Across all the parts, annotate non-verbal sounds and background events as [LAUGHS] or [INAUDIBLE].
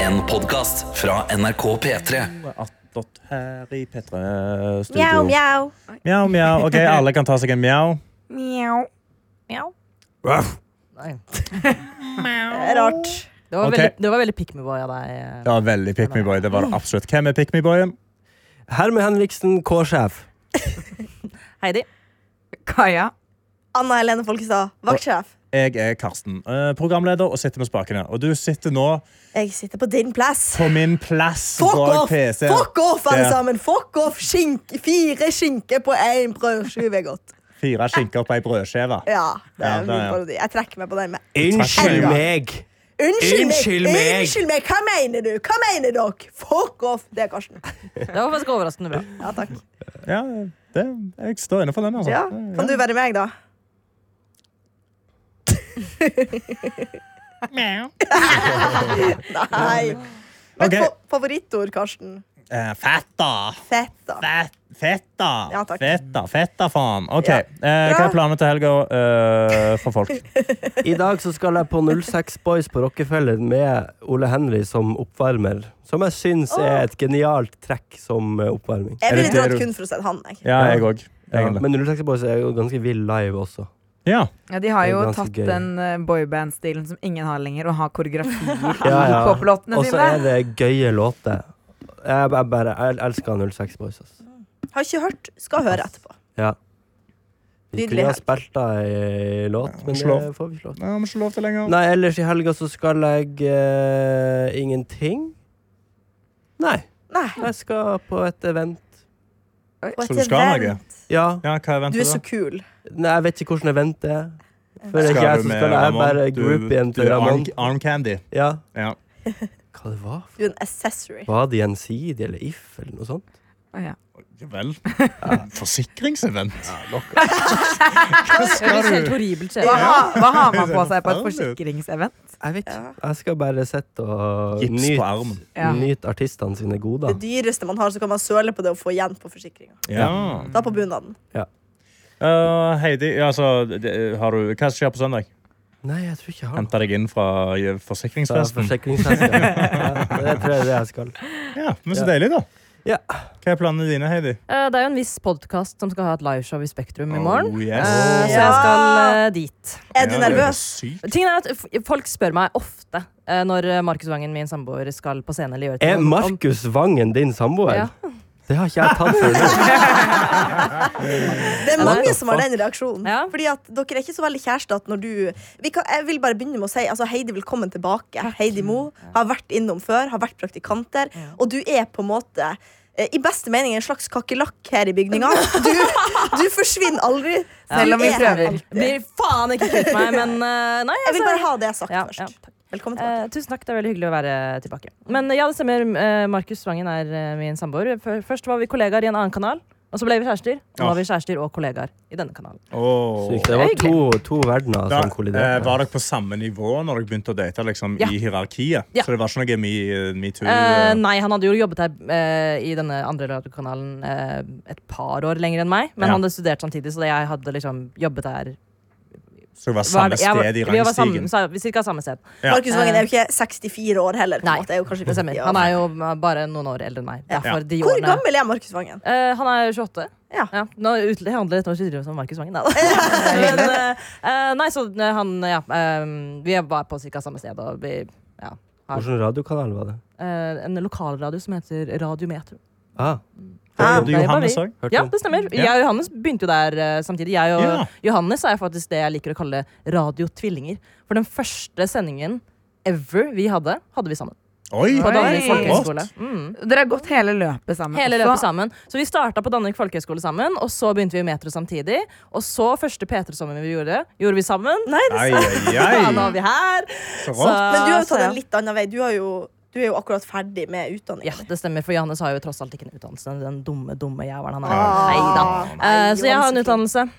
En podkast fra NRK P3. Attåt her i P3-studio. Mjau, mjau. Mjau, mjau. Ok, alle kan ta seg en mjau. Mjau. Mjau. Nei. Rart. Det var Ok. veldig, det var veldig pick me boy av deg. eh. Det var veldig Pick Me Boy. Det var det absolutt. Hvem er Pick Me Boyen? Hermed Henriksen, K-sjef. Heidi. Kaja. Anna Helene Folkestad, vaktsjef. Jeg er Karsten, eh, programleder og sitter med spakene. Og du sitter nå Jeg sitter på din plass. på min plass Fuck bak off, PC-en. Fuck off, alle Der. sammen! Fuck off, Skink, Fire skinker på én brødskive er godt. Fire skinker på ei brødskive. Ja, det er Ja, jo det er- min parodi. Jeg trekker meg på den. med Unnskyld Takk. meg! Unnskyld meg! Unnskyld meg. Unnskyld meg, Hva mener du? Hva mener dere? Fuck off! Det er Karsten. Det var faktisk overraskende bra. Ja, takk. Ja, det, jeg står inne for den, altså. Ja. Kan du være meg, da? [LAUGHS] Nei. Men Ok. fa- favorittord, Karsten? Eh, fetta! Feta. Fet- Fetta! Ja, takk. Fetta, fetta faen. OK. Ja. Eh, hva Bra. er planene til helga eh, for [LAUGHS] folk? I dag så skal jeg på 06 Boys på Rockefeller med Ole Henry som oppvarmer. Som jeg syns er et genialt trekk som eh, oppvarming. Jeg Er det ville dratt det du- kun for å se han. Jeg. Ja, jeg òg. Ja, Egentlig. men 06 Boys er jo ganske vill live også. Ja. Ja, de har Det er jo ganske tatt gøy. den eh, boyband-stilen som ingen har lenger, og har koreografier [LAUGHS] Ja, ja. i poplåtene Og så sine. er det gøye låter. Jeg, jeg bare jeg elsker 06 Boys. Altså. Har ikke hørt, skal høre etterpå. Ja. Vi Nydelig kunne ha helg. spilt ei låt, men slå. det får vi ikke lov til. Nei, jeg har ikke lov til lenger. Nei, ellers i helga så skal jeg eh, ingenting. Nei, Nei. jeg skal på et event. Og Så et du skal event. Ja. Ja, hva Du venter er så kul. Nei, jeg vet ikke hvordan event det er. For det er ikke Skal jeg du som med skal, jeg er Ramon? bare Du- groupien du til er Ramon. Arm, arm candy. Ja. Ja. Hva det var? Du er en accessory. Var det gjensidig eller if eller noe sånt? Å, ja. Ja vel. [LAUGHS] Forsikringsevent? Det høres helt horribelt skjedd hva, ha- hva har man på seg på et Faen, du. forsikringsevent? Jeg vet ikke. Jeg skal bare sitte og Gips på nyte armen. Ja. nyt artistene sine goder. Det dyreste man har, så kan man søle på det og få igjen på forsikringa. Ja. Da på bunaden. Eh, Heidi, altså, det- har du, hva skjer på søndag? Nei, jeg tror ikke jeg har noe. Henter deg inn fra Ja, forsikringsfesten? Forsikringsselskap. Ja, det tror jeg er det jeg skal. Ja, men så Ja. deilig, da. Ja. Hva er planene dine, Heidi? Eh, Det er jo en viss podkast som skal ha et liveshow i Spektrum i morgen. Oh, Eh, yes. Så Ja. jeg skal Ah! eh, dit. Er du Ja, det nervøs? sykt. Tingen er at f- Folk spør meg ofte eh, når eh, Markus Vangen, min samboer, skal på scenen eller gjøre Er om- om- Markus Vangen din samboer? Ja. Det har ikke jeg tatt før nå. Det er mange Nei. som har den reaksjonen. Ja. Fordi at Dere er ikke så veldig kjærester at når du vi kan, Jeg vil bare begynne med å si altså, Heidi, velkommen tilbake. Heidi Mo har vært innom før, har vært praktikanter, og du er på en måte eh, i beste mening en slags kakerlakk her i [LAUGHS] bygninga. Du, du forsvinner aldri. Selv om vi Du er her prøver. alltid. Blir faen ikke kvitt meg, men eh, nei. Jeg vil altså- bare ha det sagt Ja, ja, først. takk. Velkommen tilbake. Eh, tusen takk, det er veldig hyggelig å være tilbake. Men eh, ja, det stemmer. eh, Markus Svangen er eh, min samboer. Før- Først var vi kollegaer i en annen kanal, og så ble vi kjærester. Nå Ah. er vi kjærester og kollegaer i denne kanalen. Åh. Sykt. Det var to, to verdener Altså Da, som eh, var kolliderte. dere på samme nivå når dere begynte å date liksom, Ja. i hierarkiet? Ja. Så det var ikke noe me- metoo? Eh, eh, nei, han hadde jo jobbet her eh, i denne andre radiokanalen eh, et par år lenger enn meg, men Ja. han hadde studert samtidig, så jeg hadde liksom jobbet her så det var Var samme det- jeg var- sted i Vi var samme, rangstigen? sa- vi cirka samme sted. Ja. Markus Vangen er jo ikke 64 år heller. På en Eh, Nei, måte. Er jo kanskje Det stemmer. 50 år. Han er jo bare noen år eldre enn meg. Ja. Derfor de Hvor årene. gammel er Markus Vangen? Eh, han er 28. Ja. Nå utle- handler dette nå ikke om Markus Vangen, da. [LAUGHS] [LAUGHS] Men, eh, eh, nei, så eh, han Ja. eh, vi var på ca. samme sted, og vi ja, har Hvilken radiokanal var det? eh, en lokalradio som heter Radiometro. Ah, Ah, Hadde der var Johannes vi. òg? hørte Ja, om. det stemmer. Ja. Jeg og Johannes begynte jo der eh, samtidig. Jeg og Ja. Johannes er faktisk det jeg liker å kalle radiotvillinger. For den første sendingen ever vi hadde, hadde vi sammen. Oi! På Danvik Oi. folkehøgskole. Mm. Dere har gått hele løpet sammen. Hele også. løpet sammen. Så vi starta på Danvik folkehøgskole sammen, og så begynte vi i Metro samtidig. Og så første P3-sommeren vi gjorde, gjorde vi sammen. Ai, ai, [LAUGHS] Ja, nå ai. er vi her. Så Eh, rått. Men du har jo så tatt ja. en litt annen vei. Du, har jo, du er jo akkurat ferdig med utdanninga Ja, det stemmer, for Johannes har jo tross alt ikke en utdannelse. Den dumme, dumme jævelen han er. Ah. Neida. Eh, Nei, så jeg har en Johannes utdannelse.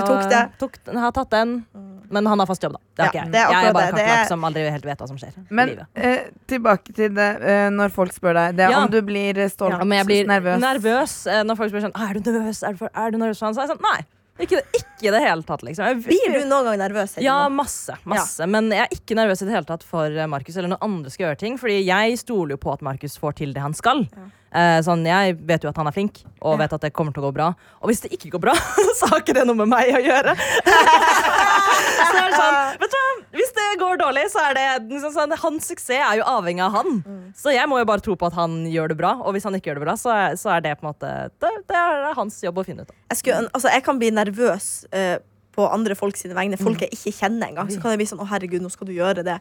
[LAUGHS] Du tok Mm. og det. Tok, den- har tatt den. Men han har fast jobb, da. Det har Ja, ikke jeg. det er jeg akkurat er bare det. Det kakerlakk er- som aldri helt vet hva som skjer. i Men livet. eh, tilbake til det eh, når folk spør deg. Det er Ja. om du blir eh, stolt, Ja, men jeg blir nervøs. "Ah, nervøs eh, når folk spør sånn Er du nervøs? Er du, for, er du nervøs for han? Så er jeg sånn Nei, Ikke, ikke i det hele tatt, liksom. Jeg, Blir du noen gang nervøs? Hedvig? Ja, masse. masse. Men jeg er ikke nervøs i det hele tatt for eh, Markus eller noen andre skal gjøre ting. Fordi jeg stoler jo på at Markus får til det han skal. Eh, sånn, Jeg vet jo at han er flink, og vet at det kommer til å gå bra. Og hvis det ikke går bra, [LAUGHS] så har ikke det noe med meg å gjøre. [LAUGHS] så det er sånn, vet du hva? Hvis det går dårlig, så er det liksom sånn, Hans suksess er jo avhengig av han. Så jeg må jo bare tro på at han gjør det bra. Og hvis han ikke gjør det bra, så er, så er det på en måte det, det er hans jobb å finne ut av. jeg, skulle, øn- altså, jeg kan bli nervøs eh, på andre folk sine Mm. vegne. Folk jeg ikke kjenner engang. Så kan jeg bli sånn Å, herregud, nå skal du gjøre det.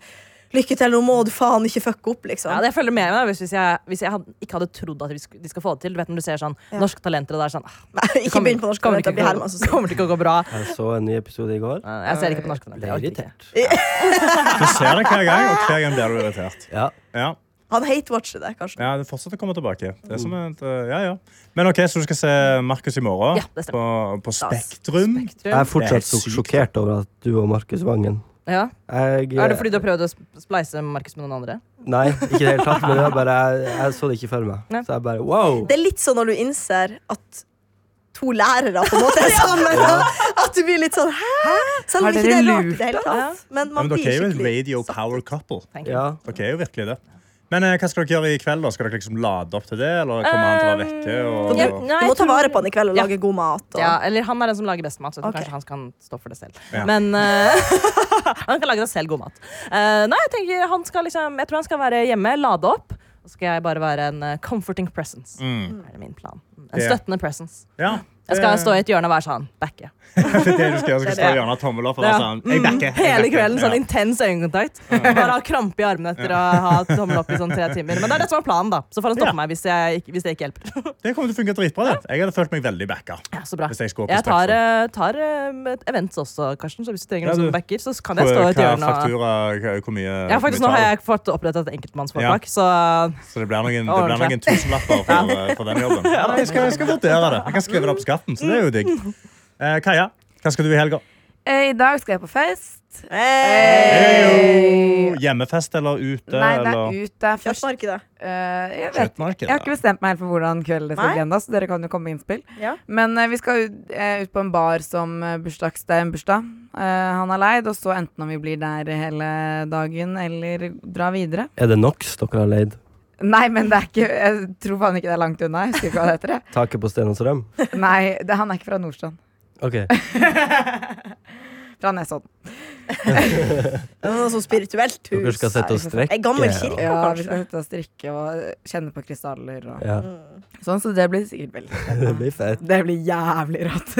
Lykke til, nå må du faen ikke fucke opp, liksom. Ja, det jeg følger med meg hvis, hvis jeg, hvis jeg hadde, ikke hadde trodd at vi sk- de skal få det til. Du vet når du ser sånn Ja. norske talenter, og det er sånn ah, Nei, ikke kommer- begynn på norsk. Kommer, kommer ikke til å gå- kommer til ikke å gå bra. Jeg så en ny episode i går. Eh, Jeg ser ikke på norske Ble talenter. jeg orker ikke. irritert. Du ser det hver gang, og hver gang blir du irritert. Ja. Ja, Han hate-watcher det, kanskje. ja det fortsetter å komme tilbake. Det er som et, eh, ja, ja. Men OK, så du skal se Markus i morgen? Mm. Ja, det på, på Stas. Spektrum? Jeg Det er er fortsatt så sykt. sjokkert over at du og Markus Vangen Ja. jeg, eh, Er det fordi du har prøvd å sp- spleise Markus med noen andre? Nei, ikke i det hele tatt. Men jeg, bare, jeg, jeg så det ikke for meg. Nei. Så jeg bare wow! Det er litt sånn når du innser at to lærere på en måte [LAUGHS] er sammen. og At du blir litt sånn hæ? Selv Har om ikke det dere er rart i lurt det hele Ja. tatt. Men Ja, men man dere blir er jo et skikkelig radio power couple. Thank you. Ja. Dere er jo virkelig det. Men eh, hva skal dere gjøre i kveld? da? Skal dere liksom lade opp til det, eller kommer han til å være vekke? Um, ja, Og... nei, Du må jeg ta tror- vare på han i kveld og Ja. lage god mat. Og... Ja, eller han er den som lager best mat, så jeg tror Ok. kanskje han kan stå for det selv. Ja. Men eh, [LAUGHS] han kan lage seg selv god mat. Eh, nei, jeg, tenker han skal liksom, jeg tror han skal være hjemme, lade opp. Og så skal jeg bare være en eh, comforting presence. Mm. Er det min plan. En Det- støttende presence. Ja. Jeg skal stå i et hjørne og være sånn. Backe. Det er det du skal gjøre. Du skal stå Ja. i hjørnet og tommel opp. Og være Ja. sånn, jeg Mm, backer. jeg Hele backer. kvelden Ja. sånn intens øyekontakt. Bare ha krampe i armene etter å ha tommel opp i sånn tre timer. Men det er det som er planen, da. Så får han stoppe Ja. meg hvis, jeg, ikke- hvis det ikke hjelper. Det kommer til å funke dritbra. det. Jeg hadde følt meg veldig backa. Ja, så bra. Hvis jeg skal opp i Jeg tar, Spektrum. eh, tar eh, et events også, Karsten, så hvis du trenger Ja, du- noen som backer, så kan jeg stå i Hva et hjørne. og- faktura, hva- hvor mye Ja, faktisk hvor mye Nå har tar jeg fått opprettet et enkeltmannsforetak, så det? Så det blir noen, det blir noen tusenlapper for, eh, for den [LAUGHS] jobben. Ja, nei, jeg, skal, jeg skal vurdere det. Jeg kan skrive det opp på skatten, så det er jo digg. Eh, Kaja, hva skal du i helga? Eh, I dag skal jeg på fest. Heyo! Hjemmefest eller ute? Nei, det eller? er ute. Først Kjøttmarkedet. eh, jeg, vet. Kjøttmarked? Jeg har ikke bestemt meg helt for hvordan kvelden Nei? skal bli ennå, så dere kan jo komme med innspill. Ja. Men eh, vi skal ut, eh, ut på en bar som eh, bursdags... Det er en bursdag eh, han har leid, og så enten om vi blir der hele dagen eller drar videre. Er det NOx dere har leid? Nei, men det er ikke Jeg tror faen ikke det er langt unna. Jeg husker ikke hva det heter. jeg. Taket på Sten og Strøm? [LAUGHS] Nei, det, han er ikke fra Nordstrand. Ok. Fra Nesodden. Det var Noe sånn spirituelt hus. Dere skal sitte og Nei, strekke? Ei gammel kirke, Ja, vi kanskje. skal sitte og strikke og eh, kjenne på krystaller og Ja. [LAUGHS] sånn, så det blir sikkert veldig Det blir fett. Det blir jævlig rått.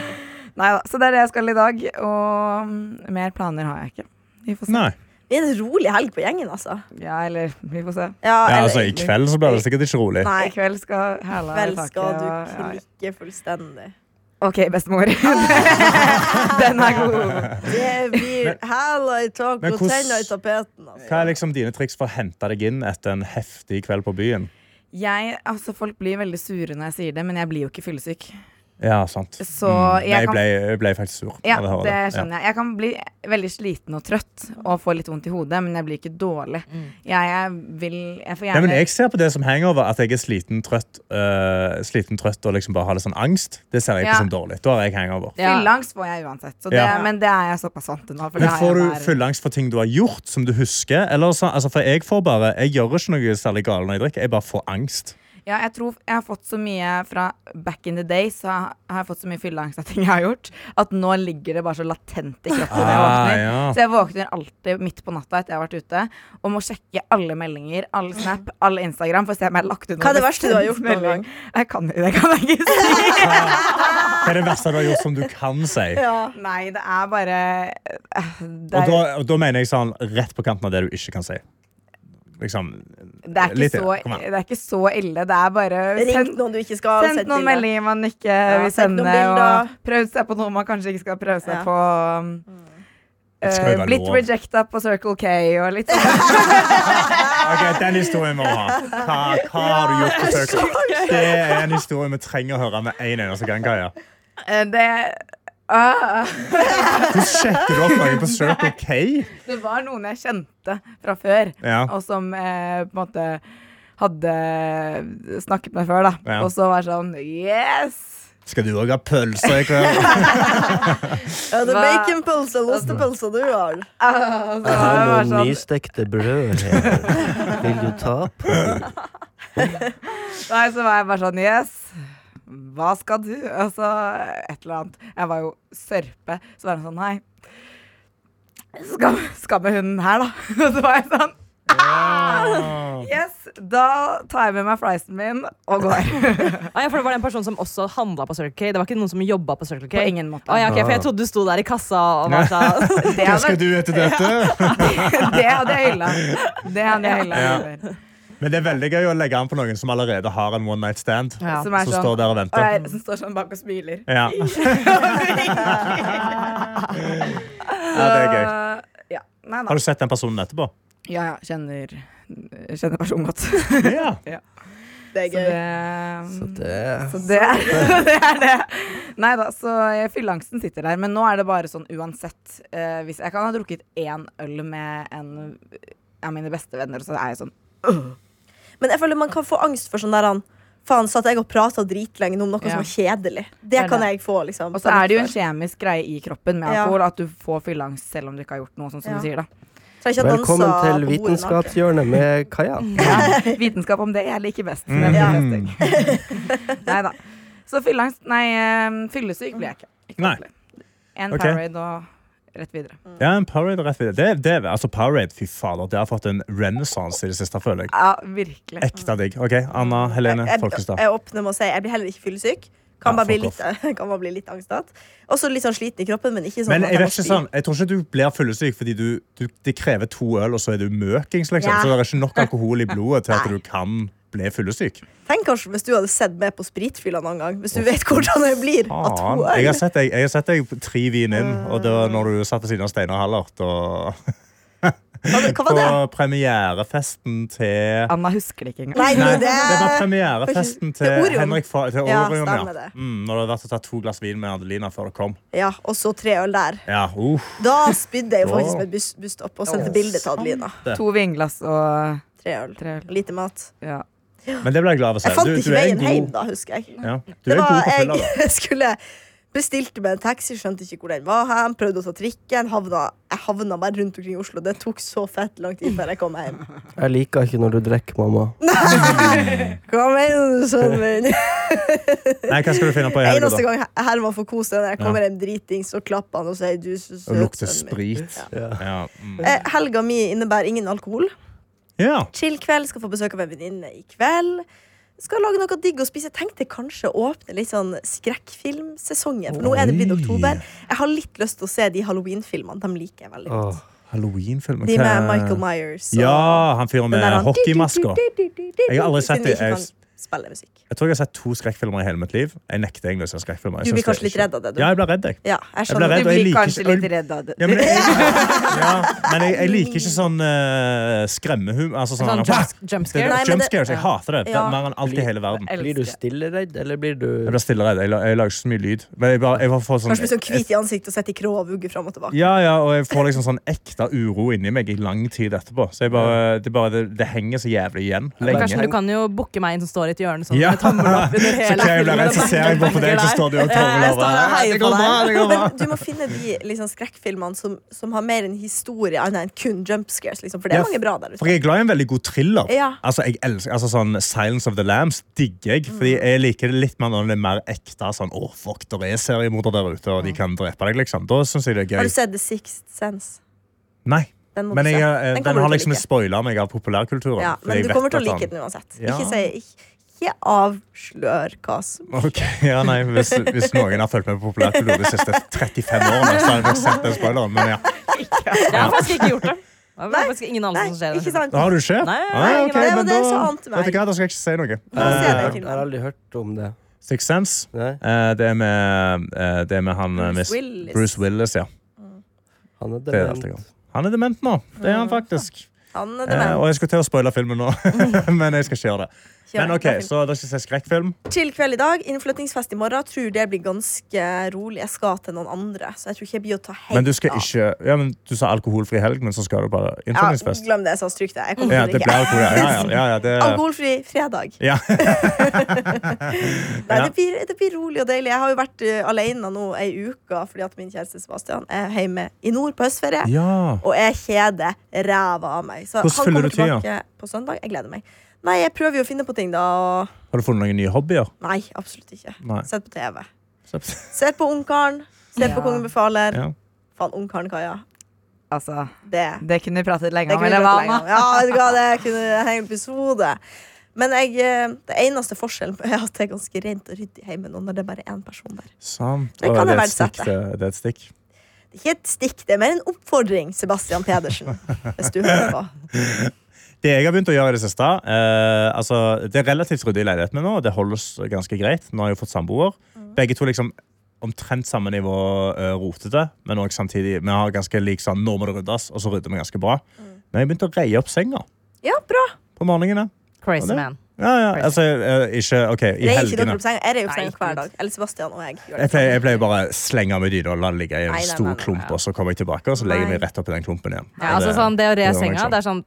[LAUGHS] Nei da. Så det er det jeg skal i dag. Og mm, mer planer har jeg ikke. Vi får se. Nei. Det er en rolig helg på gjengen, altså. Ja, eller vi får se. Ja, Ja, eller- altså, I kveld så blir det sikkert ikke rolig. Nei, I kveld skal hæla i kveld taket. skal du og- ja, ja. klikke fullstendig. OK, [LAUGHS] bestemor. Den er god. Det blir hæla i taket Men og hvordan- tenna i tapeten. Altså. Hva er liksom dine triks for å hente deg inn etter en heftig kveld på byen? Jeg, altså, folk blir veldig sure når jeg sier det, men jeg blir jo ikke fyllesyk. Ja, sant. Så Mm. Nei, jeg jeg kan ble, jeg ble faktisk sur. Ja, av å høre det sånn skjønner jeg. Jeg kan bli veldig sliten og trøtt og få litt vondt i hodet, men jeg blir ikke dårlig. Mm. Jeg, jeg vil Jeg får Nei, gjerne men jeg ser på det som hangover at jeg er sliten, trøtt, øh, sliten, trøtt og liksom bare har litt sånn angst. Det ser jeg Ja. på som dårlig. Da har jeg hangover. Ja. Fylleangst får jeg uansett, så det, Ja. men det er jeg såpass vant til nå. For det Men har Får jeg du hver- fylleangst for ting du har gjort, som du husker? Eller så, altså for Jeg får bare, jeg gjør ikke noe særlig galt når jeg drikker. Jeg bare får [LAUGHS] angst. Ja, jeg tror jeg har fått så mye fra back in the day, så har jeg fått så mye fylleangst av ting jeg har gjort, at nå ligger det bare så latent i kroppen når jeg Ah, våkner. ja. Så jeg våkner alltid midt på natta etter jeg har vært ute, og må sjekke alle meldinger, alle Snap, alle Instagram, for å se om jeg har lagt ut noe. Hva er det verste du har gjort noen gang? [LAUGHS] Jeg kan, det kan jeg ikke si. Hva er det verste du har gjort som du kan si? [LAUGHS] Ja. Nei, det er bare eh, det Og er, da, og da mener jeg sånn rett på kanten av det du ikke kan si. Liksom det, er litt ikke så, igjen. Kom igjen. det er ikke så ille. Det er bare Ring noen du ikke skal. Sendt send noen bilder. meldinger man ikke vil sendt noen sende, og bilder. prøvd seg på noe man kanskje ikke skal prøve seg Ja. på. um, Det skal jo eh, være blitt lov. rejecta på Circle K og litt sånn. [LAUGHS] Ok, Den historien må vi ha. Hva, hva har du gjort på søket? Det er en historie vi trenger å høre med en eneste gang. Kaja. Eh, Det, Ah. Hvordan sjekker du opp noe på Circle K? det var noen jeg kjente fra før, Ja. og som eh, på en måte hadde snakket med før, da. Ja. Og så var det sånn Yes! Skal du òg ha pølse i kveld? Er det Hva- baconpølse eller ostepølse du har? Jeg har noen sånn- nystekte brød her. Vil du ta på? Nei, så var jeg bare sånn Yes, hva skal du? Og så et eller annet. Jeg var jo sørpe. Så var han sånn Nei, skal, skal med hunden her, da. [LAUGHS] Og så var jeg sånn Yes, da tar jeg med meg fleisen min og går. Ah, ja, for det var den personen som også handla på Circle K. Det var ikke noen som jobba på Circle K. På ingen måte. Ah, ja, ok, for jeg trodde du sto der i kassa og var sånn Det Hva hadde, skal du etter dette? [LAUGHS] det hadde jeg hylla. Det hadde jeg hylla. Men det er veldig gøy å legge an på noen som allerede har en one night stand. Ja. Som er Som står sånn der og og venter. jeg, som står sånn bak og smiler. Ja. ja, det er gøy. Uh, ja. Nei, nei. Har du sett den personen etterpå? Ja, ja. Kjenner, kjenner personen godt. Ja. Det er Så gøy. det, Så sånn det Så det er [LAUGHS] det. Er det. Nei da, så jeg- fylleangsten sitter der. Men nå er det bare sånn uansett. eh, hvis jeg kan ha drukket én øl med en av mine beste venner, så er jeg sånn Men jeg føler man kan få angst for sånn der han Faen, satt jeg og prata dritlenge om noe Ja. som er kjedelig. Det Det er kan det. jeg få, liksom. Og så er det jo en panikk kjemisk greie i kroppen med Ja. alkohol at du får fylleangst selv om du ikke har gjort noe, sånn som Ja. du sier, da. for. Trenger ikke å danse Velkommen på til bordet naken. Vitenskapshjørnet med Kaja. Vitenskap om det jeg liker best. Mm. Ja. Nei da. Så fylleangst Nei, eh, fyllesyk blir jeg ikke. ikke Nei. ordentlig. En Ok. Powerade og rett videre. Mm. Ja, en Powerade er rett ved det. det, det altså Powerade, fy fader, det har fått en renessanse i det siste, føler jeg. Ja, virkelig. Ekte digg. Ok, Anna Helene Jeg- Folkestad. Jeg, jeg åpner med å si jeg blir heller ikke fyllesyk. Kan, Ja, bare bli fuck litt, [LAUGHS] kan bare bli litt angstete. Og så litt sånn sliten i kroppen, men ikke sånn Men at jeg må vet ikke spy. sånn, jeg tror ikke du blir fyllesyk, fordi du, du, det krever to øl, og så er du møkings, liksom. Ja. Så det er ikke nok alkohol i blodet til at du kan bli fyllesyk. Tenk kanskje hvis du hadde sett meg på spritfylla noen gang. Hvis du vet hvordan jeg blir av to Faen. Jeg har øl. sett deg, jeg har sett deg tre vin inn, og det var når du satt ved siden av Steinar Hallert, og Hva, hva var på det? premierefesten til Anna husker det ikke engang. Nei, Nei, det, det var premierefesten Til til Orion. Henrik Fa til Ja, Orion, stemmer ja. det. Mm, når du hadde vært og tatt to glass vin med Adelina før det kom. Ja, og så tre øl der. Ja, uh. Da spydde jeg jo faktisk Åh. med buss- busstopp og sendte bilde til Adelina. To vinglass og Tre øl. tre øl. Lite mat. Ja. Men det ble jeg glad av å se. Jeg fant Du- ikke du er en veien god- hjem da, husker jeg. Ja. Du Det er god var, på å fylle. jeg [LAUGHS] skulle bestilte meg en taxi, skjønte ikke hvor den var hen, prøvde å ta trikken, havna, jeg havna bare rundt omkring i Oslo. Det tok så fett lang tid før jeg kom hjem. Jeg liker ikke når du drikker, mamma. Kom igjen, sønnen min. da. Nei, hva skal du finne på i helga, Eneste da? gang Her- Herman får kose seg når jeg kommer hjem driting, så klapper han og sier du er så søt. Å lukte sønnen min». sprit. Ja. Ja. Mm. Eh, Helga mi innebærer ingen alkohol. ja. Chill kveld, skal få besøk av en venninne i kveld. Skal lage noe digg å spise. Jeg tenkte kanskje å åpne litt sånn skrekkfilmsesongen. For nå er det blitt Oi. oktober. Jeg har litt lyst til å se de halloweenfilmene. De liker jeg veldig godt. Åh. Halloweenfilmen. De hva- med Michael Myers. og Ja, han fyren den der med han- hockeymasker. Jeg har aldri sett Siden de det. ikke Jeg- kan spille musikk. Jeg tror jeg har sett to skrekkfilmer i hele mitt liv. Jeg nekter egentlig å se skrekkfilmer. Jeg Du synes det er blir kanskje litt ikke- redd av det, du. Ja, jeg blir redd, jeg. Ja, jeg Jeg ble skjønner. redd, Du og jeg blir liker kanskje ikke litt og- redd av det. Ja, [LAUGHS] men, jeg, ja, men jeg, jeg liker ikke sånn uh, skremmehum... Altså [LAUGHS] sånn, [LAUGHS] Sånn Wah! jump- jumpscare. Det- Nei, men det- Jumpscares. Jeg hater det. Det Ja. er mer enn alt i hele verden. Elsker. Blir du stille-redd, eller blir du Jeg blir stille redd. Jeg, la- jeg lager ikke så mye lyd. Men jeg bare, jeg bare får Kanskje blir sånn sånn hvit i ansiktet og sitter i krå og vugger fram og tilbake. ja, ja, og jeg får liksom sånn ekte uro inni meg i lang tid etterpå. Så jeg bare, det, bare, det, det henger så jævlig igjen. Men Lenge. Karsten, du kan jo booke meg inn som står i et hjørne sånn, Ja. med tommel opp under [LAUGHS] Så hele hver jeg blir filmen, redd, så og ser jeg bare på deg, så står du og tommel Jeg står der og over. heier Det på går deg. bra, det går bra. Men [LAUGHS] du må finne de liksom, skrekkfilmene som, som har mer en historie annet enn kun jump scares. Liksom, for det Ja, er mange bra der For ute. jeg er glad i en veldig god thriller. Ja. Altså, jeg elsker, altså sånn Silence of the Lambs digger jeg. Mm. Fordi jeg liker det litt mer når det er mer ekte. Sånn, Åh, fuck, der er seriemorder der ute, og de kan drepe deg, liksom. Da synes jeg det er Har du gøy. sett The Sixth Sense? Nei, Den må men du jeg, se. eh, den, kommer har du til å liksom like. spoila meg av populærkulturen. Ja, fordi men jeg du vet kommer til å at han- like den uansett. Ja. Ikke, si, ikke, ikke avslør hva som Ok, ja, nei, hvis, hvis noen har fulgt med på populærkultur de siste 35 årene, så har jeg nok sett den spoileren. Men ja. Jeg har faktisk ikke gjort det. Jeg har [LAUGHS] Nei, faktisk ingen anelse Nei, som skjer. i ikke den filmen. sant? Da har du ikke? Nei, Ah, nei, ok, nei, men det da- så ante meg. Vet du hva, da skal jeg ikke si noe. Nå ser jeg den Eh, Jeg filmen. har aldri hørt om det. Six Sense. Nei, Eh, det er med, eh, det er med han eh, Bruce Miss- Willis. Bruce Willis, ja. han er Det er alt jeg kan. dement. Han er dement nå. Det er han faktisk. Ah. Han er Eh, dement. og jeg skulle til å spoile filmen nå, [LAUGHS] men jeg skal ikke gjøre det. Kjør. Men ok, så dere skal se skrekkfilm? Chill kveld i dag. Innflyttingsfest i morgen. Tror det blir ganske rolig. Jeg skal til noen andre, så jeg tror ikke jeg blir å ta helt Men du skal av. ikke Ja, men du sa alkoholfri helg, men så skal du bare ja, innføringsfest? Glem det, så stryk det. Jeg kommer Ja, det blir ikke. alkohol. Ja, ja, ja, ja, det, Alkoholfri fredag. [LAUGHS] ja. Nei, Ja. det, blir, det blir rolig og deilig. Jeg har jo vært eh, alene nå ei uke fordi at min kjæreste Sebastian er hjemme i nord på høstferie. ja. Og jeg kjeder ræva av meg. Så Hvordan han fyller kommer du tida? tilbake på søndag. Jeg gleder meg. Nei, jeg prøver jo å finne på ting, da. Og... Har du funnet noen nye hobbyer? Nei, absolutt ikke. Nei. Sett på TV. Så- Sett på Ungkaren. Sett Ja. på Kongen befaler. Ja. Faen, Ungkaren, Kaja. Altså, Det, det kunne vi pratet lenge det om, kunne vi eller hva, vært lenge Anna? om. Ja, vet du hva, det kunne en hel episode. Men jeg, eh, det eneste forskjellen [LAUGHS] er at det er ganske rent og ryddig hjemme nå når det er bare én person der. Sant. Det Å, kan jeg det, er et stikk, verdsette. det, det er et stikk. Det er ikke et stikk, det er mer en oppfordring, Sebastian Pedersen. Hvis du hører på. Det jeg har begynt å gjøre i det siste eh, altså, Det er relativt ryddig i leiligheten min nå. og Det holdes ganske greit. Nå har jeg jo fått samboer. Mm. Begge to liksom omtrent samme nivå eh, rotete, men også samtidig vi har ganske lik sånn Nå må det ryddes, og så rydder vi ganske bra. Mm. Men jeg begynte å reie opp senga Ja, bra. på morgenene. Crazy det- man. Ja, ja, altså, eh, ikke, ok, I Reier ikke dere helgene. opp senga? Jeg reier opp Nei, senga hver Gud. dag. Eller Sebastian og jeg. gjør det Jeg pleier, jeg pleier bare å slenge meg i dyna og la det ligge i en Nei, nei, stor nei, nei, klump, nei. og så kommer jeg tilbake og så legger jeg Nei. meg rett opp i den klumpen igjen. Ja, Og altså sånn, Det å re det er senga, liksom- det er sånn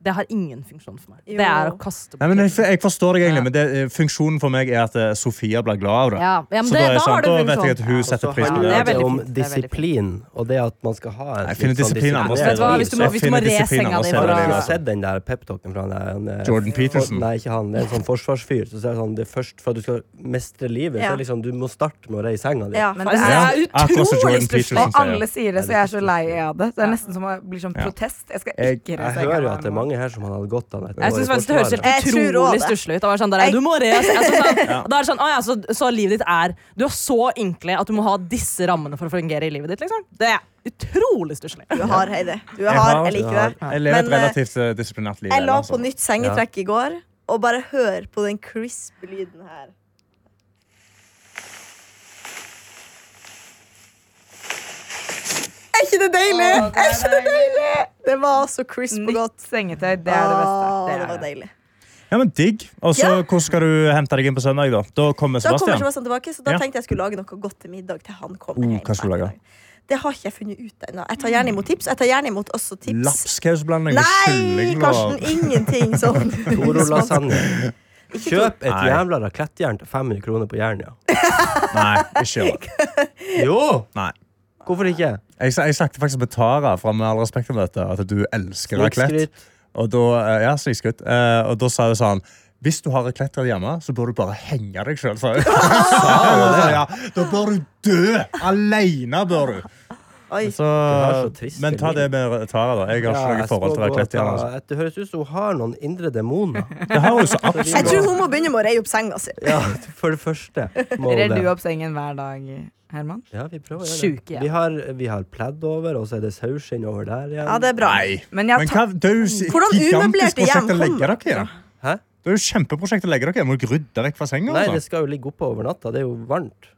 Det har ingen funksjon for meg. Jo. Det er å kaste Nei, men jeg, jeg forstår deg egentlig, Ja. men det, eh, funksjonen for meg er at eh, Sofia blir glad av det. Ja, ja, men så da, det- er da jeg har sånn, du da funksjon. vet jeg at hun Ja, setter så pris på det handler er det veldig om fint, det er veldig disiplin, og det at man skal ha en Jeg finner litt sånn disiplin andre Vet du hva, steder. hvis du må- Jeg hvis du finner må re disiplin senga andre di steder i Har fra- du livet. sett den der peptalken fra han der, han eh, Jordan Peterson. Nei, ikke han. Det er en sånn forsvarsfyr. Så sier sånn, det er først for at du skal mestre livet, Ja. så er det liksom, du må starte med å reie senga di. Ja, Men men det er det Ja, Det er akkurat som Jordan utrolig Peterson stusslig. Og sier. alle sier det, så jeg er så lei av det. Det er nesten som å bli som Ja. protest. Jeg skal Jeg- ikke Jeg reise hører jo at det er mange her som hadde gått av dette. Jeg synes faktisk Det høres helt Jeg tror også utrolig det. stusslig ut. Det var Sånn, der, Jeg- du må re jeg [LAUGHS] synes sånn, Da er det sånn, «Å ja, så, så livet ditt er Du er så ynkelig at du må ha disse rammene for å fungere i livet ditt. Liksom. Det er utrolig stusslig. Du er hard, Heidi. Du er Jeg hard, har- jeg liker det. Jeg lever et Men, eh, relativt eh, disiplinert liv. Jeg la eller, på altså. nytt sengetrekk i går, og bare hør på den crisp lyden her. Er ikke det deilig? Er ikke det deilig? Det var så crisp og godt. Nytt sengetøy, det er det beste. Åh, Det det er var det. deilig. Ja, men digg. Og så, Ja. Hvordan skal du hente deg inn på søndag? Da Da kommer Da kommer Sebastian. Sebastian tilbake, så da Ja. tenkte jeg skulle lage noe godt til middag til han kommer Oh, hjem. hva skal du på lage? ettermiddag. Det har ikke jeg funnet ut ennå. Jeg tar gjerne imot tips. Jeg tar gjerne imot også tips. Lapskausblanding med Nei, kylling Karsten, og ingenting [LAUGHS] sånn. Toro lasagne. Ikke to- Kjøp et Nei. jævla rakettjern til 500 kroner på [LAUGHS] Jernia. Nei, ikke gjør [LAUGHS] det. Jo! Nei. Hvorfor ikke? Jeg, sa- jeg snakket faktisk med Tara fra Med all respekt om dette, at du elsker raclette. Snikskryt. Og da, eh, ja, snikskryt. Eh, og da sa hun sånn hvis du har raclette hjemme, så bør du bare henge deg sjøl. [LAUGHS] Ja, da bør du dø! Aleine bør du. Oi. Så, var så trist, men ta Emil. det med Tara, da. Jeg har Ja, ikke jeg noe forhold til skal gå og raclette. igjen, ta- Altså. Det høres ut som hun har noen [LAUGHS] indre demoner. Det har hun [LAUGHS] så absolutt. Jeg tror hun må begynne med å reie opp senga si. Ja, for det første. må hun Rer det. du opp sengen hver dag, Herman? Ja, vi prøver å gjøre Sjuke, ja. det. Vi har, vi har pledd over, og så er det sauskinn over der igjen. Ja, det er bra. Nei. Men jeg Men tar hva, det er jo et Hvordan gigantisk umøblerte hjem prosjekt å legge kommer? dere i. Hæ? Det er jo et kjempeprosjekt å legge dere i. Må dere rydde dere fra senga? Nei, og det sånn? skal jo ligge oppe over natta. Det er jo varmt.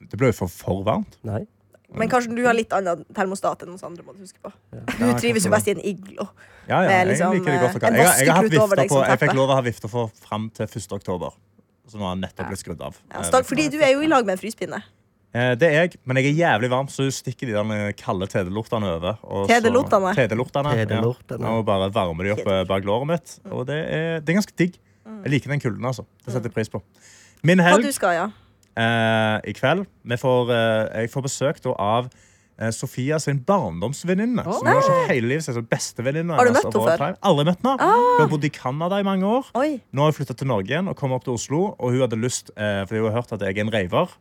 Det ble jo for, for varmt. Nei. Men kanskje du har litt annen termostat enn oss andre. må Du huske på Du Ja, trives jo kanskje best i en iglo. Ja, ja, Med jeg liksom, liker det godt. eh, og kan- en Jeg, har- jeg, har hatt vaskeklute vifter over deg som på, jeg fikk teppe. lov å ha vifter for fram til 1. oktober. Så nå har den nettopp blitt skrudd av. Ja, Stag, fordi du er jo i lag med en fryspinne. Eh, Det er jeg, men jeg er jævlig varm, så du stikker de der kalde tedelortene over. og så- Tedelortene? Tedelortene, Tedelortene. Ja. Og bare varmer de opp eh, bak låret mitt. Mm. Og det er, det er ganske digg. Jeg liker den kulden, altså. Det setter jeg pris på. Min Hva helg du skal, ja. eh, i kveld. Vi får, eh, jeg får besøk da, av eh, Sofia sin barndomsvenninne. som hun har kjent hele livet, så er hun bestevenninne Har du hennes møtt over henne all før? Ah! time. Aldri møtt henne. Hun har bodd i Canada i mange år. Oi. Nå har hun flytta til Norge igjen og kom opp til Oslo. Og hun hadde lyst, eh, fordi hun har hørt at jeg er en raver.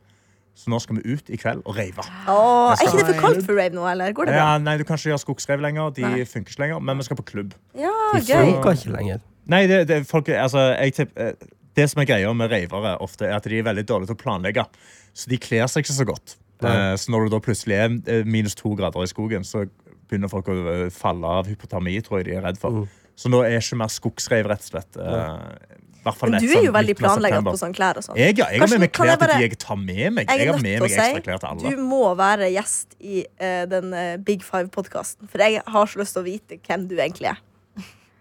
Så nå skal vi ut i kveld og rave. Åh, er Jeg ikke det for skal- kaldt for rave nå, eller? Går det bra? Ja, nei, du kan ikke gjøre skogsrev lenger. De Nei. funker ikke lenger. Men vi skal på klubb. Ja, gøy. Funka ikke lenger. Nei, det, det, folk, altså, jeg tipp- eh, det som er greia med ravere ofte, er at de er veldig dårlige til å planlegge. Så de kler seg ikke så godt. Nei. Eh, Så når det da plutselig er eh, minus to grader i skogen, så begynner folk å eh, falle av hypotermi, tror jeg de er redd for. Mm. Så nå er ikke mer skogsreiv, rett og slett. eh, i hvert fall Men nett du er jo sånn veldig midten av planlegger september. på sånne klær og sånn. Jeg, ja, jeg har med Karsten, meg kan klær jeg til bare- de jeg tar med meg. Jeg Jeg er har nødt med til å meg ekstra si klær til alle. du må være gjest i eh, den eh, Big Five-podkasten, for jeg har så lyst til å vite hvem du egentlig er.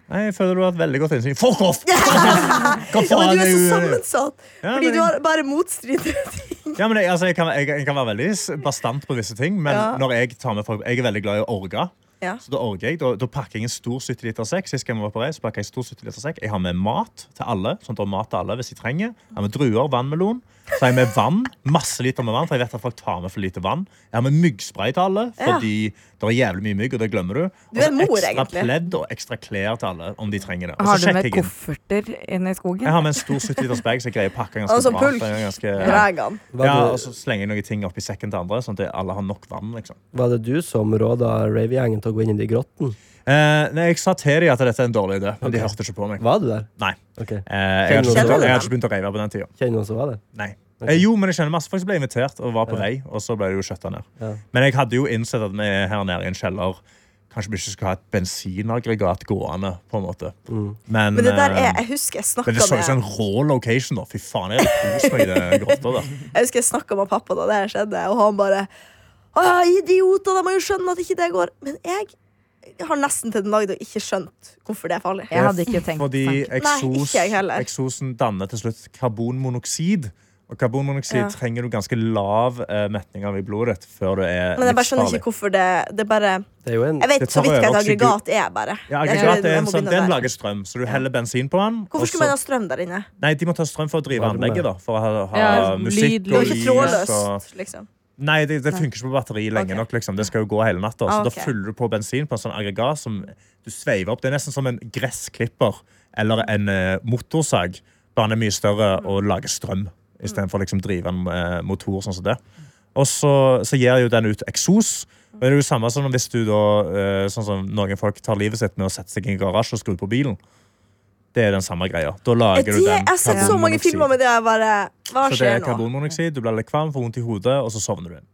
Nei, jeg føler du har hatt veldig godt innsyn. Fuck off! [LAUGHS] Hva Ja, men faen du er er så jo- sammensatt! Ja, Fordi men- du har bare motstridende ting. Ja, men jeg, altså, jeg, kan, jeg, jeg kan være veldig s- bastant på visse ting, men Ja. når jeg tar med folk Jeg er veldig glad i å orge. [LAUGHS] Ja. Så da orger jeg, da, da pakker jeg en stor 70 liter sekk. Sist gang jeg var på reis, pakket jeg en stor 70 liter sekk. Jeg har med mat til alle, sånn at det er mat til alle hvis de trenger. Jeg har med druer, vannmelon. Så har jeg med vann, masse liter med vann, for jeg vet at folk tar med for lite vann. Jeg har med myggspray til alle, Ja. fordi det er jævlig mye mygg, og det glemmer du. Du er en mor, ekstra egentlig. pledd og ekstra klær til alle, om de trenger det. Og så Har du sjekker med jeg inn. kofferter inn i skogen? Jeg har med en stor 70 liters bag, så jeg greier å pakke ganske Og så bra. pulk. for jeg er ganske- Drar han. Var, ja, altså- det, og så slenger jeg noen ting oppi sekken til andre, sånn at alle har nok vann. liksom. var det du som råda rave-gjengen til å gå inn i de grottene? Eh, nei, Jeg sa til dem at dette er en dårlig idé, men de hørte ikke på meg. Var du der? Nei, Ok, eh, jeg, hadde ikke Kjenner du begynt, å- dem? jeg hadde ikke begynt å rave på den tida. Kjenner noen som var der? Nei. Ok. Eh, jo, men jeg kjenner masse folk som ble invitert og var på vei, og så ble det jo skjøtta ned. Ja. Men jeg hadde jo innsett at vi er her nede i en kjeller kanskje vi ikke skal ha et bensinaggregat gående. på en måte. Mm. Men, Men det der er, eh, jeg husker jeg men snakket det sånn- så ut med som en rå location. da. Fy faen, jeg hadde kost meg i det grotta. da. Jeg husker jeg snakket med pappa da det her skjedde, og han bare Å, idioter, de må jo skjønne at ikke det går. Men jeg har nesten til den dag i dag ikke skjønt hvorfor det er farlig. Jeg hadde ikke tenkt sånn. Fordi tanken. eksos, ikke jeg heller. eksosen danner til slutt karbonmonoksid. Og karbonmonoksid Ja. trenger du ganske lav eh, metning av i blodet ditt før det er Men jeg bare skjønner livsfarlig. ikke hvorfor det Det er bare Det er jo en Jeg vet Det så vidt hva et tar jo også aggregat er, bare. Ja, Jeg aggregat tror er jeg en må sånn, begynne Den der. lager strøm, så du heller bensin på den. og Hvorfor så- skulle man ha strøm der inne? Nei, De må ta strøm for å drive Varme. anlegget. da For å ha, ha Ja, musikk lyd, Det og er jo lys. ikke og- trådløst, liksom. Nei, det, det funker ikke på batteri lenge Ok. nok. liksom. Det skal jo gå hele natta. Så Ah, ok. da fyller du på bensin på en sånn aggregat som du sveiver opp. Det er nesten som en gressklipper eller en eh, motorsag. Bare den er mye større Mm. og lager strøm istedenfor å liksom drive en eh, motor sånn som det. Og så, så gir jo den ut eksos. Og det er jo det samme som hvis du da, eh, sånn som noen folk tar livet sitt med å sette seg i en garasje og skru på bilen. Det er den samme greia. Da Er lager det, du den. jeg har sett så mange karbonmonoksid. filmer med det, og jeg bare Så Hva det skjer er nå? karbonmonoksid, du blir litt kvalm, får vondt i hodet, og så sovner du. inn.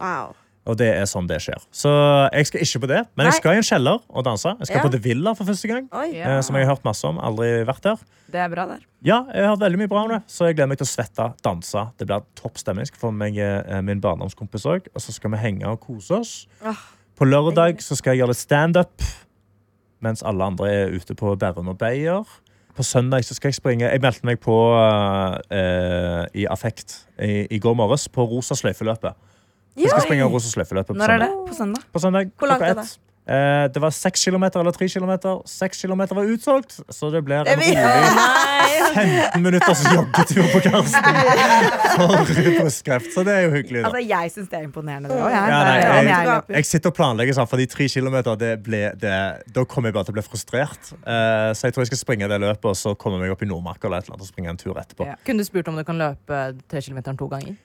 Wow. Og det er sånn det skjer. Så jeg skal ikke på det, men Nei. jeg skal i en kjeller og danse. Jeg skal Ja. på The Villa for første gang, Oi. Ja. eh, som jeg har hørt masse om. Aldri vært der. Det er bra der. Ja, jeg har hørt veldig mye bra om det, så jeg gleder meg til å svette, danse. Det blir topp stemning. Jeg skal få med meg eh, min barndomskompis òg, og så skal vi henge og kose oss. Åh, På lørdag så skal jeg gjøre litt standup, mens alle andre er ute på Bærum og Beyer. På søndag så skal jeg springe Jeg meldte meg på eh, i Affekt i, i går morges på Rosa sløyfeløpet. Jeg skal springe Rosa sløyfeløpet på Når er søndag. det? På søndag? På søndag Hvor langt klokka er det? ett. Eh, det var seks kilometer eller tre kilometer. Seks kilometer var utsolgt, så det blir Det en blir- rolig [LAUGHS] 15 minutters joggetur på Karsten for brystkreft. Så det er jo hyggelig, da. Altså, jeg syns det er imponerende, det òg. Ja, nei, jeg, jeg- jeg, løper. Jeg sitter og planlegger sånn, for de tre kilometer, det ble, det, da kommer jeg bare til å bli frustrert. Eh, så jeg tror jeg skal springe det løpet, og så kommer jeg meg opp i Nordmarka eller et eller annet, og springe en tur etterpå. Ja. Kunne du spurt om du kan løpe tre kilometeren to ganger?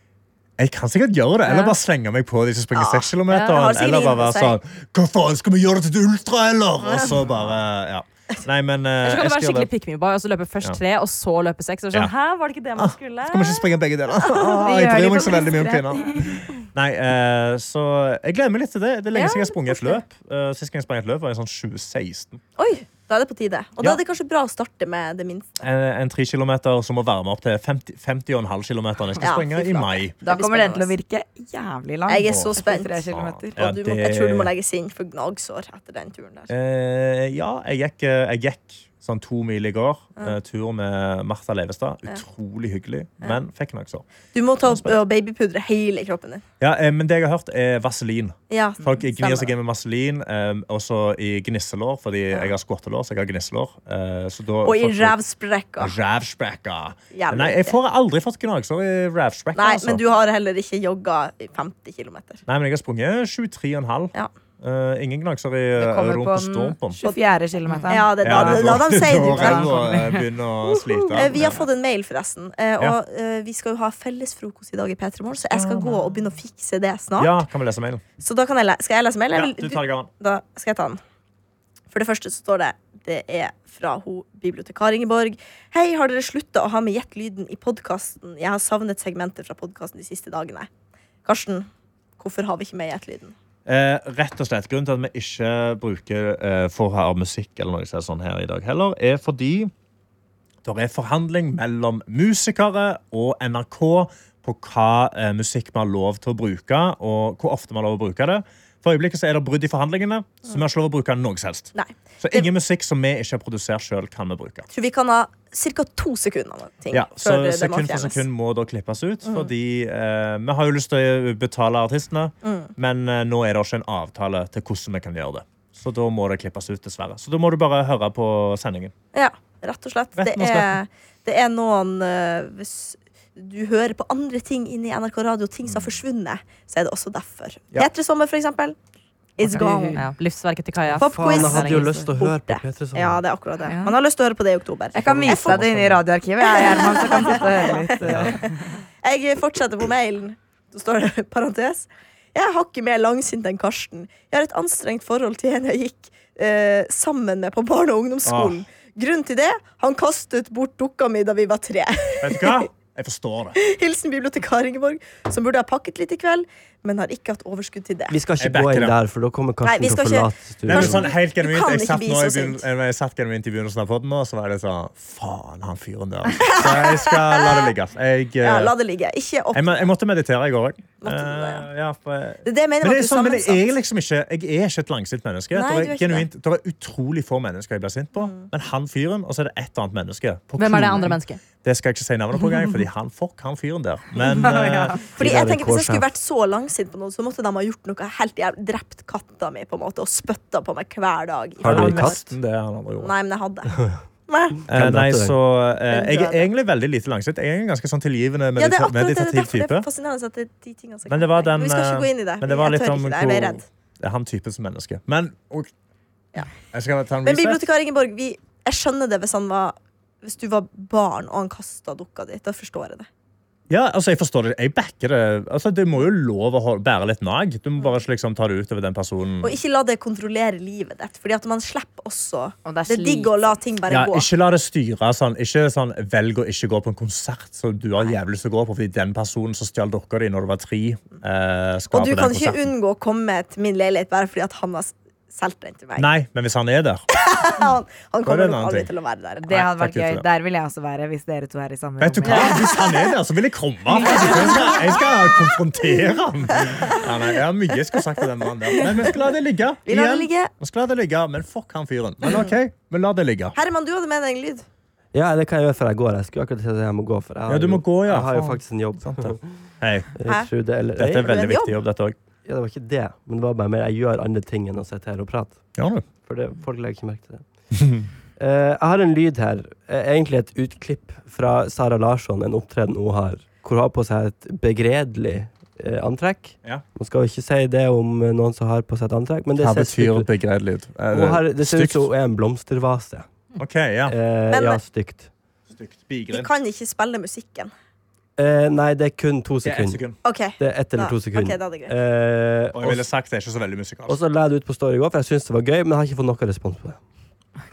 Jeg kan sikkert gjøre det, eller Ja. bare slenge meg på de som springer Ja. seks Ja, kilometer. det har eller bare være sikkert sånn Hva faen, skal vi gjøre det til et ultra, eller? Og så bare, ja. Nei, men eh, Eller så jeg kan du være skal gjøre skikkelig det. pick me boy og så løpe først Ja. tre, og så løpe seks. Og så Ja. er det Ah, sånn, Hæ, var det ikke det man skulle? Skal vi ikke springe begge deler? [LAUGHS] Ah, Vi jeg gjør det bryr meg på så veldig mye om brystet. kvinner. Nei, eh, så jeg gleder meg litt til det. Det er lenge siden jeg har sprunget et løp. Eh, sist gang jeg sprang et løp, var i sånn 2016. Oi, da er det på tide. Og Ja. da er det kanskje bra å starte med det minste. en, en 3 kilometer som må varme opp til 50, 50,5 kilometer jeg skal Ja, springe fy i flate. mai. Da Det blir kommer den til å spennende. virke jævlig lang. Jeg er så spent. Tre kilometer. Ja, Og du må, det- jeg tror du må legges inn for gnagsår etter den turen der. Eh, ja, jeg gikk, eh, jeg gikk sånn to mil i går. eh, tur med Martha Leivestad. Utrolig hyggelig, men fikk nok så. Du må ta opp og babypudre hele kroppen din. Ja, eh, men det jeg har hørt, er vaselin. Ja, Folk gnir stemmer seg det. inn med vaselin, eh, også i gnisselår, fordi jeg har skottelår, så jeg har gnisselår. Eh, så da, Og i folk- rævsprekker. Rævsprekker. Jævlig Nei, jeg viktig. får aldri fått gnagsår i rævsprekker. Nei, altså. men du har heller ikke jogga i 50 km. Nei, men jeg har sprunget 23,5. Ja. Eh, ingen gnagsår i Det eh, kommer rumpa på og storpen. den 24. kilometeren. Ja, det, da, det er sånn. [LAUGHS] la da- dem si det. da til deg. ræva, eh, begynner å slite. Eh, Vi har fått en mail, forresten. eh, Og eh, vi skal jo ha fellesfrokost i dag i P3 Morgen, så jeg skal gå og begynne å fikse det snart. Ja, kan vi lese mailen? Så da kan jeg le skal jeg lese mail? Ja, eller du vil- tar gaven. Da skal jeg ta den. For det første så står det Det er fra ho bibliotekar Ingeborg. Hei, har dere slutta å ha med Gjett lyden i podkasten? Jeg har savnet segmenter fra podkasten de siste dagene. Karsten, hvorfor har vi ikke med Gjett lyden? Eh, rett og slett, Grunnen til at vi ikke bruker eh, for her musikk eller noe sånt her i dag heller, er fordi det er forhandling mellom musikere og NRK på hva eh, musikk vi har lov til å bruke, og hvor ofte vi har lov å bruke det. For øyeblikket så er det brudd i forhandlingene, så vi har ikke lov å bruke noe som helst. Nei. Så ingen musikk som vi ikke har produsert sjøl, kan vi bruke. Tror vi kan ha ca. to sekunder av ting Ja, så før det må sekund for fjernes. Mm. sekund må da klippes ut, fordi eh, vi har jo lyst til å betale artistene, Mm, men eh, nå er det ikke en avtale til hvordan vi kan gjøre det. Så da må det klippes ut, dessverre. Så da må du bare høre på sendingen. Ja, rett og slett. Rett Det og er, det er noen eh, Hvis du hører på andre ting inni NRK Radio, ting som har forsvunnet, så er det også derfor. Ja. P3-sommer, for eksempel. It's gone. Ja, livsverket til Kaja. Pop- Faen, jeg hadde jo Quiz. lyst til å høre på Borte. Peter sånn. Ja, det er akkurat det. Ja. Han har lyst til å høre på det i oktober. Jeg kan vise deg det inne i radioarkivet, jeg, Herman, så kan du sitte og høre litt. [LAUGHS] eh. Jeg fortsetter på mailen. Så står det parentes. Jeg har ikke mer langsint enn Karsten. Jeg har et anstrengt forhold til en jeg gikk eh, sammen med på barne- og ungdomsskolen. Grunnen til det? Han kastet bort dukka mi da vi var tre. [LAUGHS] Vet du hva? Jeg forstår det. Hilsen bibliotekar Ingeborg, som burde ha pakket litt i kveld, men har ikke hatt overskudd til det. Vi skal ikke Jeg gå backer inn det. der, for da kommer Nei, vi Karsten til skal å ikke- forlate Nei, men studioet. sånn, helt Du genuint, kan jeg ikke satt, bli nå i så begyn- sint. jeg satt genuint i begynnelsen av podden, og så var det sånn Faen, han fyren der. altså. Så jeg skal la det ligge. Jeg, eh, Ja, la det ligge. Ikke opp. jeg, må- jeg måtte meditere i går òg. Måtte du det, ja. ja, for jeg- Det er det jeg mener men det er med at du sånn, men jeg er sammensatt. liksom ikke Jeg er ikke et langsint menneske. Nei, det, er du er ikke det. Mm. genuint, det er utrolig få mennesker jeg blir sint på, men han fyren, og så er det et annet menneske. på Hvem er det kloden. andre mennesket? Det skal jeg ikke si navnet på engang, [LAUGHS] fordi han, fuck han fyren der. Men eh, Fordi Det jeg tenker er Hvis jeg kårsjef. skulle vært så langsint på noen, så måtte de ha gjort noe helt jævlig. Drept katta mi på en måte og spytta på meg hver dag. Har du det en var katt? nesten det han andre gjorde. Nei, men jeg [LAUGHS] hadde. Nei. Eh, nei, Kan dette så eh, Jeg er døde. egentlig veldig lite langsint. Jeg er en ganske sånn tilgivende Ja, det er medita akkurat det. Det er meditativ derfor det type. er fascinerende at det er de tingene som Men det var kan- den, Vi skal eh, ikke gå inn i det. Men det var jeg litt sånn tør om ikke det. Jeg ble hvor redd. Det er han typen som menneske. Men og, Ja. Jeg skal ta en Men reset. bibliotekar Ingeborg, vi, jeg skjønner det hvis han var hvis du var barn og han kasta dukka di. Da forstår jeg det. Ja, altså, jeg forstår det. Jeg backer det. Altså, det må jo lov å hol- bære litt nag. Du må bare ikke liksom ta det ut over den personen. Og ikke la det kontrollere livet ditt. Fordi at man slipper også [LAUGHS] Og det Det er digg å la ting bare Ja, gå. ikke la det styre sånn. Ikke sånn, velg å ikke gå på en konsert som du har jævlig lyst til å gå på, fordi den personen som stjal dokka di når du var tre, eh, skal Og du på kan den ikke konserten. unngå å komme til min leilighet bare fordi at han har s- solgt den til meg. Nei, men hvis han er der Da Han, han er det kommer en nok annen aldri ting. til å være der. Det hadde Nei, vært takk gøy. for det. Der vil jeg også være, hvis dere to er i samme Vet du hva? Hvis han er der, så vil jeg [LAUGHS] komme. Altså, jeg, skal, jeg skal konfrontere ham. Ja, nei, jeg har mye jeg skulle sagt til den mannen der. Men vi skal la det ligge. Vi lar det Igjen. ligge. Vi skal la det ligge, Men fuck han fyren. Men OK, vi lar det ligge. Herman, du hadde med deg en lyd. Ja, det kan jeg gjøre før jeg går. Jeg skulle akkurat si at jeg må gå, for jeg har, Ja, du må jo- gå, ja. jeg har jo Faen. faktisk en jobb. [LAUGHS] Hei, Hæ? Jeg tror det, eller, dette nei, er Har du veldig en jobb? viktig jobb, dette òg. ja, det var ikke det, men det var bare mer jeg gjør andre ting enn å sitte her og prate. Gjør du? For det, folk legger ikke merke til det. [LAUGHS] Eh, jeg har en lyd her, eh, egentlig et utklipp fra Sara Larsson, en opptreden hun har, hvor hun har på seg et begredelig eh, antrekk. Ja. Man skal jo ikke si det om eh, noen som har på seg et antrekk, men det Hva ser betyr Eh, stygt ut. begredelig? ut? Er Hun har, det ser ut stygt? som hun er en blomstervase. OK, ja. Eh, Men- ja, stygt. Stygt. Vi Bigrind. kan ikke spille musikken. Eh, nei, det er kun to Det er ett sekunder. sekund. OK. Det er ett eller da- to sekunder. ok, da er det greit. Eh, Og jeg ville og, sagt det er ikke så veldig og musikalsk. så la jeg det ut på Story i går, for jeg syns det var gøy, men jeg har ikke fått noe respons på det.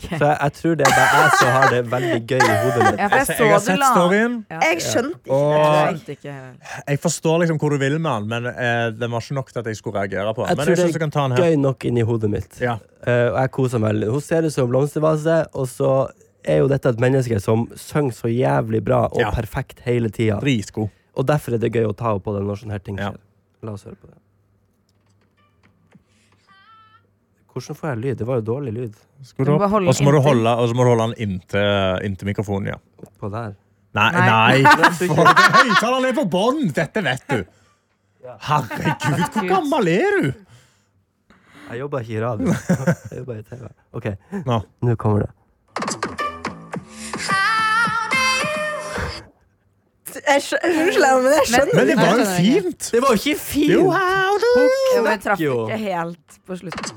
Så jeg, jeg tror det er bare jeg som har det veldig gøy i hodet mitt. Ja, for jeg Altså, så jeg har du sett la- storyen. Ja. Jeg skjønte ikke Og- det. Jeg skjønte ikke heller. Jeg forstår liksom hvor du vil med den, men eh, den var ikke nok til at jeg skulle reagere på den. Jeg Men tror jeg synes jeg det kan ta den her. Gøy nok inni hodet mitt. Ja. Eh, og jeg koser meg. veldig. Hun ser ut som en blomstervase, og så er jo dette et menneske som synger så jævlig bra og Ja. perfekt hele tida. Dritgod. Og derfor er det gøy å ta henne på det når sånne her ting Ja. skjer. La oss høre på det. Hvordan får jeg lyd? Det var jo dårlig lyd. Skru Du må det opp. holde Og så må du inntil. holde, og så må du holde den inntil, eh, inntil mikrofonen, ja. På der. Nei, nei! Nei. Høyttaleren er på bånn! Dette vet du. Herregud, hvor gammel er du? Jeg jobber ikke i [LAUGHS] radio. Jeg jobber i TV. OK, Nå. nå kommer det. Jeg skjø- [LAUGHS] Unnskyld, Herman, men jeg skjønner Men det var jo skjønner jeg fint! Det var jo ikke fint! Jo, Jo, men Hun jeg traff knakk jo. ikke helt på slutten.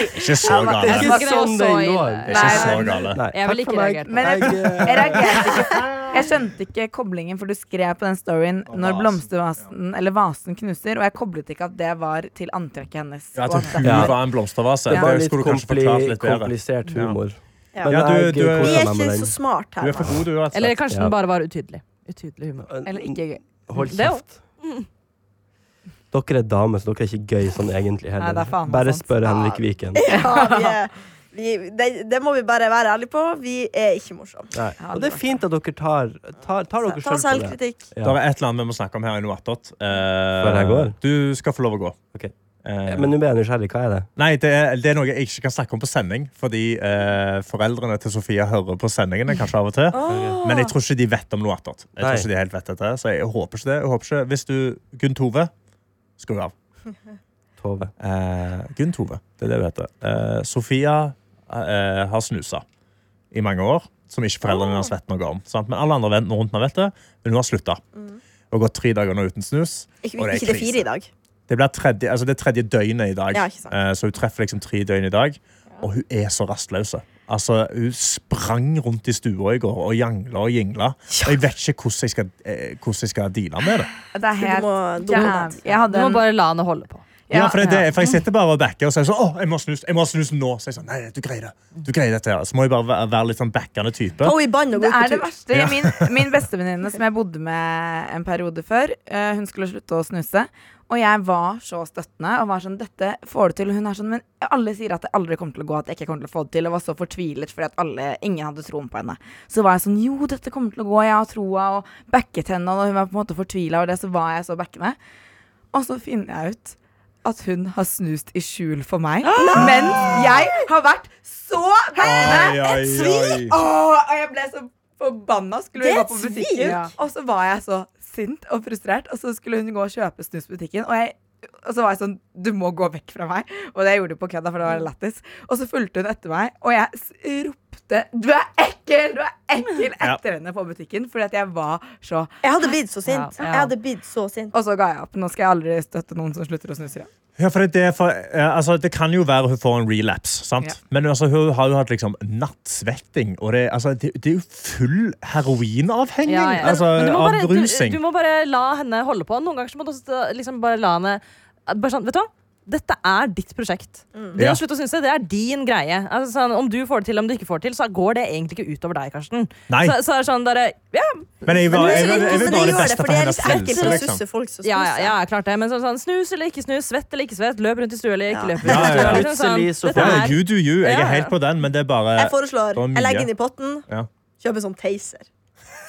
Ikke så Det gale. er Jeg ikke husker sånn det det var så går. ille. Ikke så Nei, gale. Nei, Jeg takk ville ikke for meg. reagert på Men jeg, Jeg, eh, jeg reagerte ikke. Jeg skjønte ikke koblingen, for du skrev på den storyen når blomstervasen eller vasen knuser, og jeg koblet ikke at det var til antrekket hennes. Ja, At og at hun det- Ja. var en blomstervase. Det var Det litt, skulle du kanskje kompli forklart litt bedre. komplisert humor. Ja. Men Ja, du- jeg du er- Vi koser er meg med ikke så den. smart Du er for her. god, du, rett og Eller slett. kanskje Ja. den bare var utydelig. Utydelig humor. Eller ikke gøy. Hold Det er jo- kjeft. Dere er damer, så dere er ikke gøy sånn egentlig Nei, det heller. er faen meg Bare sant. spør Henrik Viken. Ja, vi er, Vi, det, det må vi bare være ærlige på. Vi er ikke morsomme. Nei. Og det er fint at dere tar, tar, tar dere Ta selv på det. selvkritikk. Det Ja. er et eller annet vi må snakke om her i Noattot. Før jeg går? du skal få lov å gå. Ok. Eh, Men nå ble jeg nysgjerrig. Hva er det? Nei, det er, det er noe jeg ikke kan snakke om på sending, fordi eh, foreldrene til Sofia hører på sendingene kanskje av og til. Men jeg tror ikke de vet om noe attåt. Jeg Nei. tror ikke de helt vet dette, så jeg håper ikke det. Jeg håper ikke. Hvis du Gunn Tove Skru av. Tove. Eh, Gunn Tove, det er det hun heter. Eh, Sofia eh, har snusa i mange år, som ikke Ah. foreldrene hennes vet noe om. Sant? Men alle andre ven- rundt henne vet det, men hun har slutta. Og gått tre dager nå uten snus. Mm. Ikke, Og det er ikke det krise. fire i dag. Det, blir tredje, altså det er tredje døgnet i dag. Ja, ikke sant. Eh, Så hun treffer liksom tre døgn i dag, og hun er så rastløs. Altså, hun sprang rundt i stua i går og jangla og jingla. Og jeg vet ikke hvordan jeg skal, eh, hvordan jeg skal deale med det. Det er helt må- du må jæv... vente. Jeg Du hadde må en bare la henne holde på. Ja, for, det, er det, for jeg sitter bare og backer og sier sånn, åh, jeg må ha snus, jeg må ha snus nå. Så jeg sånn, nei, du greier det. Du greier dette her. Så må jeg bare være- være litt sånn backende type. Gå i bånd og gå Det er på det tur. verste. Min, min bestevenninne som jeg bodde med en periode før, eh, hun skulle slutte å snuse. Og jeg var så støttende og var sånn Dette får du til. Og hun er sånn Men alle sier at det aldri kommer til å gå, at jeg ikke kommer til å få det til. Og var så fortvilet fordi at alle, ingen hadde troen på henne. Så var jeg sånn Jo, dette kommer til å gå. Jeg har troa. Og backet henne. Og da hun var på en måte fortvila over det, så var jeg så backende. Og så finner jeg ut at hun har snust i skjul for meg. Men jeg har vært så Ah! Ai, henne ai, et svik! ai. Åh, og jeg ble så forbanna. Skulle Det hun er gå et på svik! butikken, Ja. og så var jeg så sint og frustrert. Og så skulle hun gå og kjøpe snus på butikken, og, jeg, og så var jeg sånn Du må gå vekk fra meg. Og det gjorde hun på kødda, for det var lættis. Og så fulgte hun etter meg, og jeg s- ropte Du er ekkel! Du er ekkel! Ja. etter henne på butikken, fordi at jeg var så Jeg hadde blitt så sint. Ja, ja. Jeg hadde blitt så sint. Og så ga jeg opp. Nå skal jeg aldri støtte noen som slutter å snuse. igjen. Ja, for det, er det, for, eh, altså, det kan jo være hun får en relapse, sant? Ja. men altså, hun har jo hatt liksom, nattsvetting. Og det, altså, det, det er jo full heroinavhengig! Ja, ja. Altså, Men du må bare, av rusing. Du, du må bare la henne holde på. Noen ganger så må du også liksom bare la henne bare sånn, Vet du hva? Dette er ditt prosjekt. Mm. Det Ja. å slutte å synes det, det er din greie. Altså, sånn, om du får det til, om du ikke får det til, så går det egentlig ikke utover deg, Karsten. Nei. Så, så er det sånn der, ja, Men jeg, Men var, det jeg, er så jeg, jeg vil dumt bare når det du gjør det, beste for for det er hennes litt ekkelt helse, å liksom. susse folk som ja, ja, snuser. ja, klart det. Men sånn, sånn snus eller ikke snus, svett eller ikke svett, løp rundt i stue eller ikke Ja. løp rundt Ja, i ja, stue. ja. Liksom, sånn, Plutselig så dette får Ja, er- you do you. Jeg er Ja, ja. helt på den, men det er bare Jeg Eh, foreslår det var mye. Jeg legger den i potten. Ja. Kjøp en sånn taser.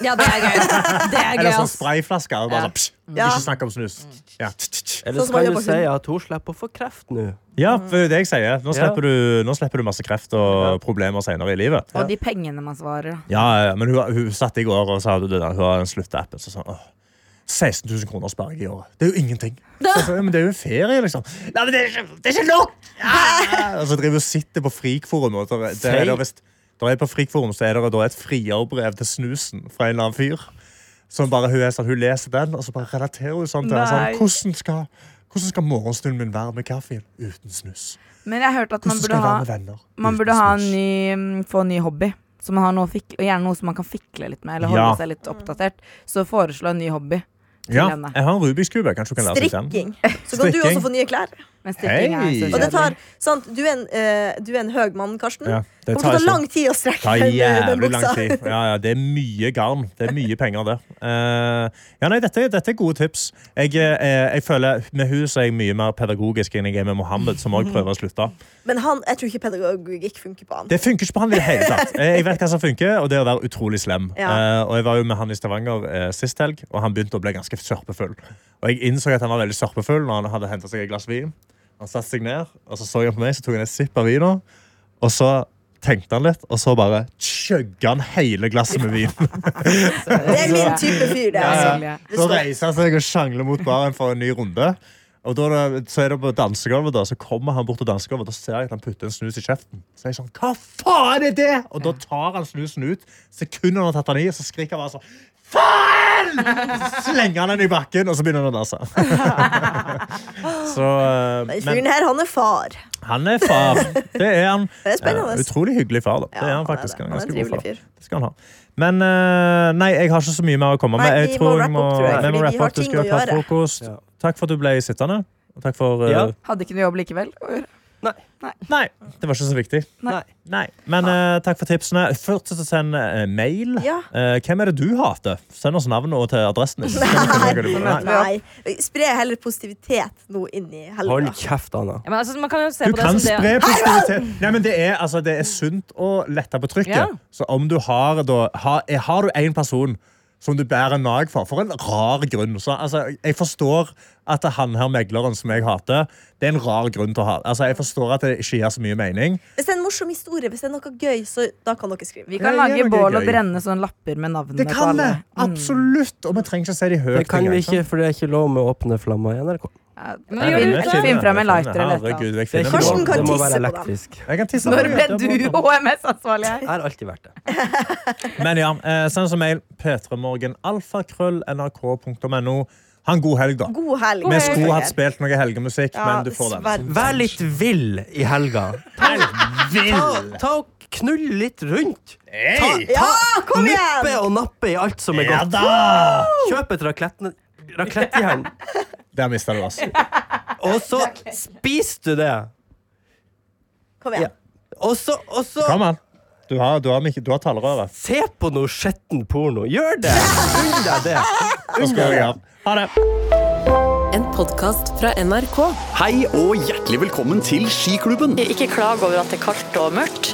Ja, det er gøy. Det er gøy, Eller sånn ass. sprayflasker. Og bare Ja. Mm. sånn, psj, Ja. Ikke snakk om snus. Ja. tsk, tsk. Eller Sånn som man gjør skal du på si film. at hun slipper å få kreft nå? ja, for det er det jeg sier. Nå slipper, du, nå slipper du masse kreft og problemer senere i livet. Og de pengene man svarer. Ja, ja, men hun, hun satt i går og sa at hun har en sluttapp. Så sa hun, «Åh, 16 000 kroner sparer jeg i året. Det er jo ingenting. Så jeg sa, ja, men det er jo en ferie, liksom. Nei, men det er ikke, det er ikke nok! Ah! [LAUGHS] Og så driver hun og sitter på frikforum. Og der, der er det, visst- der er på frikforum så er det da et frigjørbrev til snusen fra en eller annen fyr. Som bare hun, er sånn, hun leser den, og så bare relaterer hun sånn til den, sånn, hvordan skal, hvordan skal morgenstunden min være med kaffen uten snus? Men jeg hørte at man Hvordan skal burde jeg ha være med venner Man uten burde ha en snus?» ny, mm, få en ny hobby. Så man har noe å fikle, og gjerne noe som man kan fikle litt med, eller holde Ja. seg litt oppdatert. Så foreslå en ny hobby. til ja, henne. Jeg har en Rubiks kube. Kanskje hun kan lære seg den? Strikking. Så kan du Strikking. også få nye klær. Men strikking er Hei! så Og det tar, kjedelig. sant, du, er en, eh, du er en høg mann, Karsten. Ja, det det Mm. tar kommer til å ta ikke- lang tid å strekke tar den jævlig lang buksa. tid. Ja, ja, det er mye garn. Det er mye penger, det. Eh, ja, nei, dette, dette er gode tips. Jeg, eh, jeg føler Med hun så er jeg mye mer pedagogisk enn jeg er med Mohammed, som òg prøver å slutte. Men han, jeg tror ikke pedagogikk funker på han. Det funker ikke på han i det hele [LAUGHS] tatt. Eh, Jeg vet hva som funker, og det er å være utrolig slem. Ja. Eh, og jeg var jo med han i Stavanger eh, sist helg, og han begynte å bli ganske sørpefull. Og jeg innså at han var veldig sørpefull når han hadde henta seg et glass vin. Han satte seg ned, og så så han på meg, så tok han et sipp av vina, og så tenkte han litt, og så bare chugga han hele glasset med vin. Det er min type fyr, det. Ja, ja. Altså. Det Så står- Eh, reiser han seg og sjangler mot baren for en ny runde. Og da, er det- så er det på dansegulvet, da, så kommer han bort til dansegulvet, og da ser jeg at han putter en snus i kjeften. Så er jeg sånn, hva faen er det?! Og da tar han snusen ut. Sekundet han har tatt den i, så skriker han bare sånn, faen! Så slenger han den i bakken, og så begynner han å danse. [LAUGHS] så, eh, Den men fyren her, han er far. han er far. Det er han. Det er spennende. Eh, Utrolig hyggelig far, da. Ja, det er han han er faktisk. det. Han er Han er ganske en god trivelig far. [LAUGHS] fyr. Det skal han ha. Men eh, nei, jeg har ikke så mye mer å komme med. Nei, Jeg vi tror må jeg wrap opp, tror jeg, vi må fordi vi wrap har opp. Du ting skulle å ha tatt gjøre. frokost. Ja. Takk for at du ble sittende. Og takk for eh, Ja. Hadde ikke noe jobb likevel. å gjøre. Nei. Nei, det var ikke så viktig. Nei. Nei. Men eh, takk for tipsene. Fortsett å sende eh, mail. Ja. Eh, hvem er det du hater? Send oss navnet og til adressen. [LAUGHS] din. Nei. Nei. Spre heller positivitet nå inn i Hold helga. kjeft, Anna. Ja, men altså, man kan jo se Du på det kan som spre det positivitet. Nei, men det, er, altså, det er sunt å lette på trykket. Ja. Så om du har da Har, eh, har du én person som du bærer nag for, for en rar grunn. Så, altså, jeg forstår at han her megleren som jeg hater, det er en rar grunn til å ha. Altså, jeg forstår at det ikke gir så mye mening. Mm. Hvis det er en morsom historie, hvis det er noe gøy, så da kan dere skrive. Vi kan Ja, lage gjør noe bål og gøy. brenne sånne lapper med Mm. navnene Det på kan alle. det! Absolutt! Og vi trenger ikke å si de høyt. Det kan vi engang, sant? ikke, for det er ikke lov med åpne flammer i NRK. Ja, Men Nei, gjør men det jeg klart. finner- Finn fram jeg en finner- lighter eller et eller Herregud, jeg Det, er finner ikke Karsten lov. kan det må være tisse på dem. elektrisk. Jeg kan tisse på Når det. ble Det er du bra. HMS-ansvarlig her? Jeg har alltid vært det. Men ja, eh, send oss en mail. p3morgen.alfakrøll.nrk.no. Ha en god helg, da. God helg. Vi skulle hatt spilt noe helgemusikk, Ja, men du får den. dessverre. Vær litt vill i helga. Ta, ta og knull litt rundt. Ta, ta, Ja, kom igjen! nippe og nappe i alt som er Ja godt. da! Kjøp et raklettne- raklettjern, Der mista [LAUGHS] du oss. og så spiser du det. Kom Ja. igjen. Og så, og så Kom an. Du har, du har, mik- du har talerøret. Se på noe skjetten porno. Gjør det! Unn deg det. Da skal jeg gjøre. Ha det. En podkast fra NRK. Hei og hjertelig velkommen til Skiklubben. Ikke klag over at det er kaldt og mørkt,